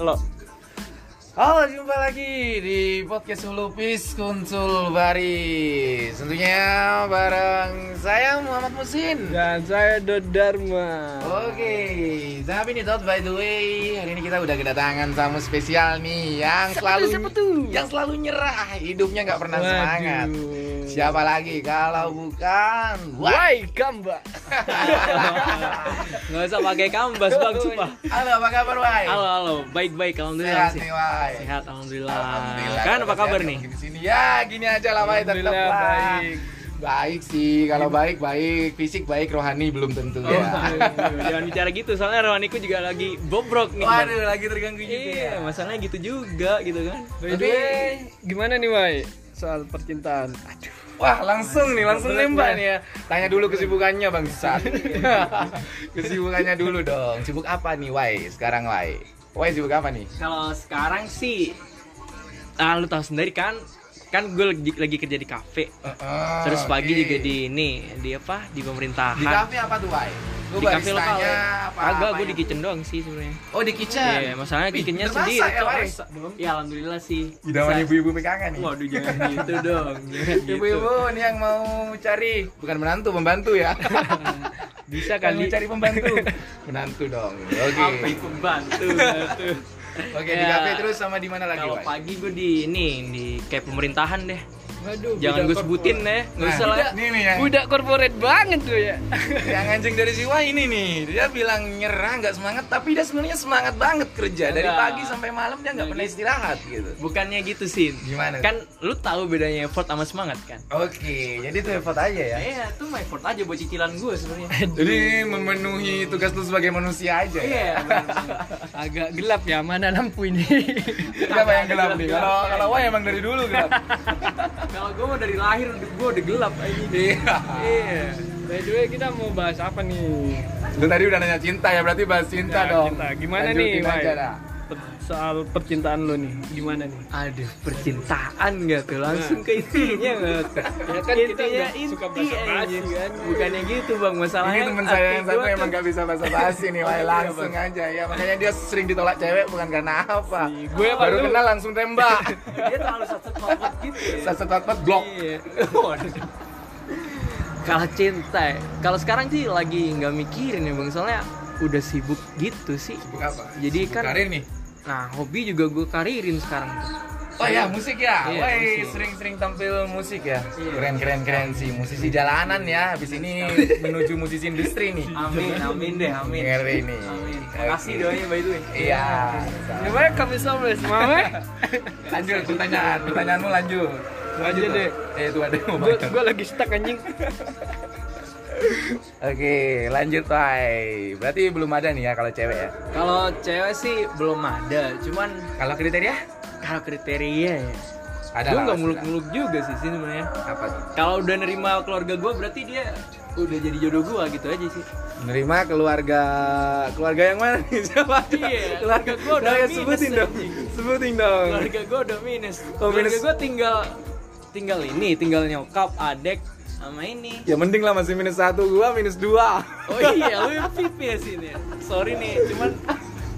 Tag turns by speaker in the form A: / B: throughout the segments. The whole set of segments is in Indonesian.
A: Lo.
B: Halo, jumpa lagi di podcast Hulupis Kuncul Baris Tentunya bareng saya Muhammad Musin
C: Ya.
A: Dan saya Dodarma.
B: Oke, tapi nih Tot, by the way Hari ini kita udah kedatangan tamu spesial nih Yang selalu yang selalu nyerah Hidupnya nggak pernah
A: Waduh.
B: semangat Siapa lagi kalau bukan Wah,
A: Why kamba?
C: Nggak usah pakai kambas bang, sumpah
B: Halo, apa kabar Wai?
C: Halo, halo, baik-baik,
B: Sehat
C: alhamdulillah sih
B: nih Wai
C: Sehat, alhamdulillah
B: Alhamdulillah.
C: Kan apa
B: Kalau
C: kabar
B: sehat,
C: nih?
B: Di sini ya gini aja lah baik tetap
A: Alhamdulillah,
B: lah.
A: baik.
B: Baik sih, kalau baik baik, fisik baik, rohani belum tentu ya.
C: Aduh, Jangan bicara gitu, soalnya rohaniku juga lagi bobrok nih Bang.
B: Waduh, lagi terganggu ya.
C: Iya, masalahnya gitu juga gitu kan
A: By the
B: Tapi-
A: way, gimana nih Wai? Soal percintaan. Aduh.
B: Wah, langsung nih, langsung
A: Berat,
B: nembak
A: berat.
B: nih ya. Tanya dulu kesibukannya Bang Sat. kesibukannya dulu dong. Sibuk apa nih, Wai? Sekarang, Wai. Wai sibuk apa nih?
C: Kalau sekarang sih Ah, lu tahu sendiri kan Kan gue lagi, lagi kerja di kafe Terus pagi juga di ini, di apa? Oh, Di pemerintahan
B: Di kafe apa tuh, Wai? Lu
C: Di kafe lokal
B: baristanya
C: ya.
B: apa?
C: Agak,
B: apa
C: gue di
B: yang-
C: kitchen doang sih sebenarnya
B: Oh, di kitchen.
C: Iya, masalahnya
B: Wih,
C: kitchennya
B: terpaksa
C: sendiri
B: ya,
C: tuh.
B: Wai?
C: Ya, alhamdulillah sih
B: Idaman
C: Bisa-
B: ibu-ibu PKK nih.
C: Waduh jangan gitu dong. Jangan gitu.
B: Ibu-ibu nih yang mau cari bukan menantu, pembantu ya.
C: Bisa
B: Yang
C: kali Iya.
B: mau cari pembantu. menantu dong. Oke.
C: apa itu bantu. bantu.
B: Oke, di
C: Ya.
B: kafe terus sama di mana lagi,
C: Kalau
B: Wai?
C: pagi gue di ini di kayak pemerintahan deh.
A: Waduh.
C: Jangan gue sebutin deh. Nggak
B: Nah,
C: usah lah.
B: Nih nih yang
A: Budak corporate banget tuh ya.
B: yang anjing dari Siwa ini nih dia bilang nyerah nggak semangat tapi dia sebenarnya semangat banget kerja dari
C: Enggak.
B: pagi sampai malam dia nggak pernah istirahat gitu
C: Bukannya gitu sih.
B: Gimana?
C: Kan lu tahu bedanya effort sama semangat kan?
B: oke jadi itu effort aja ya
C: Iya, itu mah effort aja buat cicilan gue sebenarnya.
B: jadi memenuhi tugas lu sebagai manusia aja ya
C: Iya. bener-bener.
A: Agak gelap ya, mana lampu ini?
B: Kenapa yang gelap
C: Iya.
B: nih? Kalau kalau wah emang dari dulu gelap.
C: Kalau gue mah dari lahir gue udah gelap aja.
B: Iya.
A: Iya. By the way, kita mau bahas apa nih?
B: Lu tadi udah nanya cinta ya, berarti bahas cinta
A: Ya,
B: dong.
A: cinta. Gimana
B: Lanjutin
A: nih, Wai?
B: aja dah.
A: Per- soal percintaan lo nih, gimana nih?
C: Aduh, percintaan gak tuh? Langsung ke intinya gak tuh?
A: Ya kan kita
C: Intinya
A: udah suka
C: inti
A: basa-basi
C: aja.
A: kan.
C: Bukannya gitu bang, masalahnya
B: Ini teman saya
C: hati
B: yang satu
C: gua
B: emang
C: tuh-
B: gak bisa bahasa basi
A: Iya,
B: nih, Wai. Langsung aja ya. Makanya dia sering ditolak cewek bukan karena apa.
A: Si gue apa
B: baru
A: lu?
B: kenal langsung tembak.
C: Dia terlalu satu kompak gitu ya
B: Satu tempat blok.
C: Iya Waduh. Kalau cinta ya. Kalau sekarang sih lagi nggak mikirin ya bang Soalnya udah sibuk gitu sih
B: Sibuk apa?
C: Jadi
B: Sibuk
C: kan-
B: karir nih.
C: Nah hobi juga gue karirin sekarang tuh
B: Oh ya musik ya,
C: Iya,
B: Woi
C: musik.
B: sering-sering tampil musik ya,
C: Iya.
B: keren keren keren sih musisi jalanan ya, habis ini menuju musisi industri nih,
C: Amin, amin deh, amin
B: ngeri nih.
C: Amin, makasih doanya by the way
B: Iya.
A: Gimana kamu sama Mau
C: ya?
A: eh?
B: Lanjut pertanyaan, pertanyaanmu lanjut.
A: Lanjut deh.
B: Eh itu ada yang mau
A: Gue
B: makan.
A: gue lagi stuck anjing.
B: Oke, lanjut Wai. Berarti belum ada nih ya kalau cewek ya.
C: Kalau cewek sih belum ada, cuman
B: Kalau kriteria?
C: kalau kriteria ya
B: Ada
C: gue
B: lah,
C: nggak
B: pasti
C: muluk-muluk juga sih sih sebenarnya
B: lah. Apa tuh?
C: kalau udah nerima keluarga gue berarti dia udah jadi jodoh gue gitu aja sih
B: Menerima keluarga keluarga yang mana nih? Siapa?
C: Iya, keluarga gua udah
B: keluarga
C: minus,
B: sebutin dong.
C: anjing.
B: Sebutin dong.
C: keluarga gue udah minus
B: Oh,
C: keluarga
B: minus.
C: gue tinggal tinggal ini tinggal nyokap adek sama ini
B: Ya mending lah masih minus satu, gua minus dua.
C: oh iya lu yang pipis ini sorry nih cuman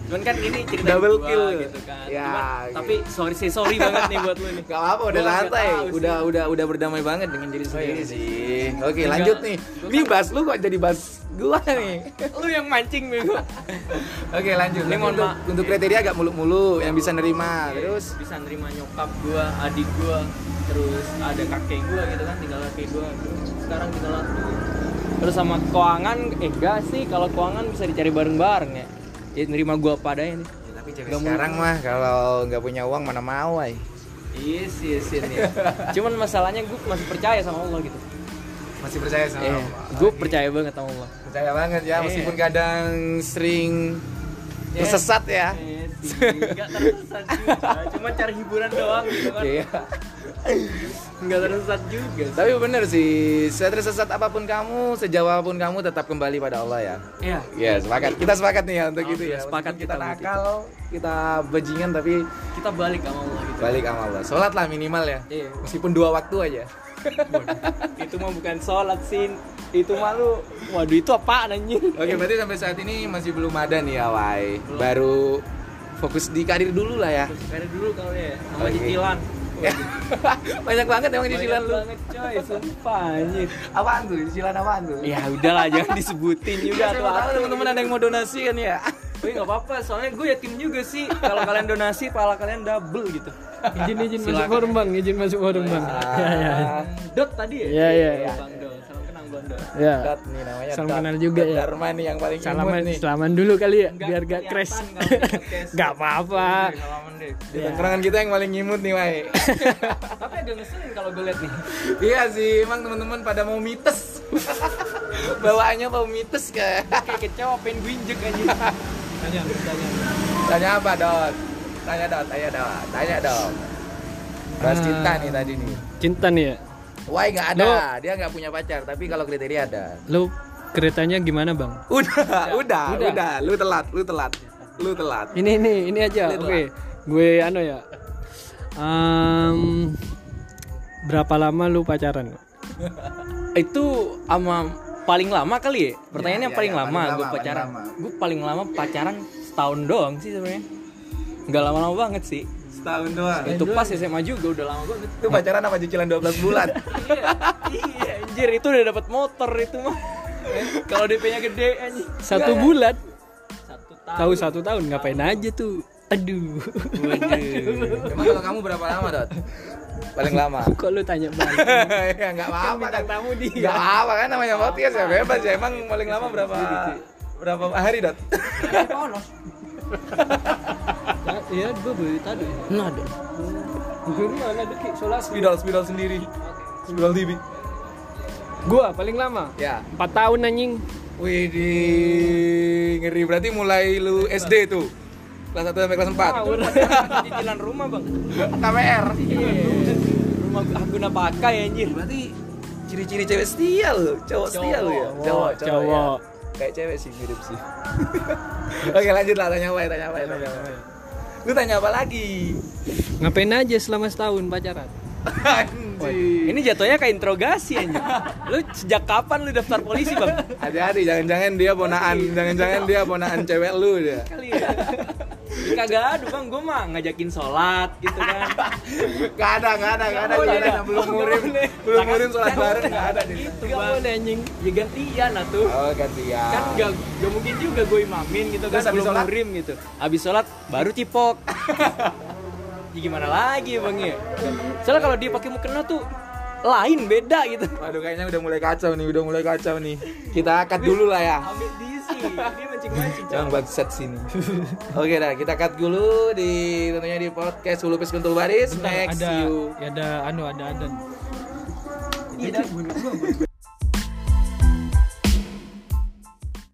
C: cuman kan ini cerita
B: Double
C: gua
B: kill.
C: gitu kan
B: Ya,
C: Cuman,
B: gitu.
C: tapi sorry sih sorry banget nih buat lu nih
B: Gak apa-apa, udah
C: Gua nggak
B: santai.
C: tahu sih.
B: Udah udah udah berdamai banget dengan diri sendiri sih. Oke,
C: Enggak.
B: lanjut nih.
C: Gua
B: Ini bahas lu kok jadi bahas gua nih.
C: lu yang mancing bego
B: Oke, lanjut. Iya,
C: Ini
B: Ini
C: mohon
B: untuk,
C: maaf.
B: untuk kriteria agak mulu-mulu yang bisa nerima. Terus
C: terus Iya, bisa nerima nyokap gua adik gua terus ada kakek gua gitu kan tinggal kakek gua sekarang tinggal aku terus sama keuangan eh enggak sih kalau keuangan bisa dicari bareng-bareng ya ya nerima gua apa adanya nih
B: Ya, tapi
C: Gak mulu.
B: sekarang mah kalau nggak punya uang mana mau, ay.
C: iya sih sih nih cuman masalahnya gua masih percaya sama Allah gitu
B: Masih percaya sama
C: eh
B: Allah.
C: gua percaya banget sama Allah
B: Percaya banget ya,
C: Iya.
B: meskipun kadang sering
C: Iya.
B: tersesat ya.
C: eh sih enggak tersesat juga cuma cari hiburan doang gitu kan
B: Iya.
C: enggak tersesat juga
B: Tapi bener sih, setersesat apapun kamu, sejauh apapun kamu tetap kembali pada Allah ya.
C: ya
B: Ya sepakat. Kita sepakat nih ya untuk itu ya.
C: Alhamdulillah, sepakat
B: Meskipun kita
C: kita untuk
B: nakal, kita bajingan tapi
C: kita balik sama Allah gitu
B: balik sama Allah. Sholat lah minimal ya.
C: Iya.
B: Meskipun dua waktu aja.
C: itu mah bukan sholat sin itu mah lu waduh itu apaan anjir
B: Oke, berarti sampai saat ini masih belum ada nih ya, Wai. Baru fokus di karir dulu lah ya
C: Terus karir dulu kali ya sama
B: Oke.
C: cicilan
B: banyak banget emang cicilan
C: Banyak
B: lu
C: banget coy sumpah anjir
B: apaan tuh cicilan apaan tuh
C: ya udahlah jangan disebutin juga
B: Iya, Siapa
C: tuh
B: tahu
C: atuh.
B: teman-teman ada yang mau donasi kan ya
C: Wih nggak apa-apa, soalnya gue yatim juga sih. Kalau kalian donasi, pahala kalian double gitu.
A: izin izin masuk
B: Silakan.
A: forum bang izin masuk forum bang ya ya
C: Dot tadi ya?
A: Iya, iya, iya.
C: Bang Dol, salam kenang Bang Dol.
A: ya
B: Dat nih namanya
A: Salam
B: Dat.
A: kenal juga
B: Dat
A: ya.
B: Dharma nih yang paling imut
A: salaman
B: nih
A: salaman dulu kali ya
C: Nggak
A: biar gak
C: kelihatan
A: crash
C: kalau di podcast.
A: gak apa-apa
C: Iya, Salaman deh.
B: di tongkrongan kita yang paling imut nih Mai
C: Tapi agak ngeselin kalau gue liat nih.
B: iya sih emang teman-teman pada mau mites bawaannya mau mites ke
C: Kayak kecewa pengen gue injek aja. Tanya, tanya.
B: tanya apa Dot tanya Dot tanya Dot tanya dong bahas
A: Ah.
B: cinta nih tadi nih
A: cinta nih ya
B: Why nggak ada dia nggak punya pacar tapi kalau kriteria ada
A: lu keretanya gimana bang
B: udah udah
A: Udah.
B: udah, lu telat lu telat lu telat
A: ini ini ini aja oke
B: Ini telat.
A: gue ano ya Em, berapa lama lu pacaran
C: Itu sama paling lama kali ya? Pertanyaannya
B: Iya, iya,
C: paling
B: iya,
C: lama
B: paling
C: gue
B: lama,
C: pacaran.
B: paling lama.
C: Gue paling lama pacaran setahun doang sih sebenarnya. Nggak lama-lama banget sih.
B: setahun doang
C: Itu pas SMA juga udah lama banget.
B: itu pacaran apa cicilan 12 bulan
C: iya anjir itu udah dapat motor itu mah kalau DP-nya gede anjir
A: satu bulan
C: satu
A: tahu satu tahun ngapain aja tuh aduh
C: Iya. waduh
B: emang kalau kamu berapa lama Dot paling lama
A: kok lu tanya bang
B: ya nggak apa-apa kan tamu di nggak apa kan namanya podcast ya bebas ya emang paling lama berapa berapa hari dot Iya,
A: ya gue boleh tadi
C: nah deh
A: gue mana deki solas
B: spidol spidol sendiri spidol tv
A: gue paling lama
B: ya
A: empat tahun anjing
B: wih di ngeri berarti mulai lu SD tuh kelas 1 sampai kelas 4
C: cicilan rumah bang Iya.
B: KPR
C: rumah gua- ah, guna pakai anjir
B: berarti ciri-ciri cewek setia lu cowok setia lu ya cowok
A: Cowok, cowok.
B: ya. kayak cewek sih mirip sih oke lanjut lah tanya apa ya, tanya apa ya, tanya apa ya. lu tanya apa lagi
A: ngapain aja selama setahun pacaran
B: Anjir.
C: ini jatuhnya kayak interogasi anjir lu sejak kapan lu daftar polisi bang
B: Hati-hati, jangan-jangan dia ponaan, jangan-jangan dia ponaan cewek lu dia.
C: kali ya kagak aduh bang gue mah ngajakin sholat gitu kan
B: Gak ada, gak ada, gak ada,
C: Oh,
B: gak
C: iya.
B: ada, belum
C: Oh,
B: murim,
C: boleh.
B: belum murim sholat bareng gak ada di.
C: gitu bang
A: anjing
C: ya gantian lah tuh
B: Oh gantian.
C: kan gak, gak mungkin juga gue imamin gitu kan
B: Terus abis
C: belum
B: sholat?
C: muhrim gitu abis sholat baru cipok ya gimana lagi bang ya soalnya kalau dia pakai mukena tuh lain beda gitu
B: Waduh kayaknya udah mulai kacau nih, udah mulai kacau nih. Kita cut dulu lah ya.
C: ambil diisi dia mancing mancing
B: Jangan bangsat sini. Oke dah, kita cut dulu di tentunya di podcast Hulu Pes Kuntul
A: ya.
B: Baris. Next
A: ada
B: you.
A: ada anu ada adan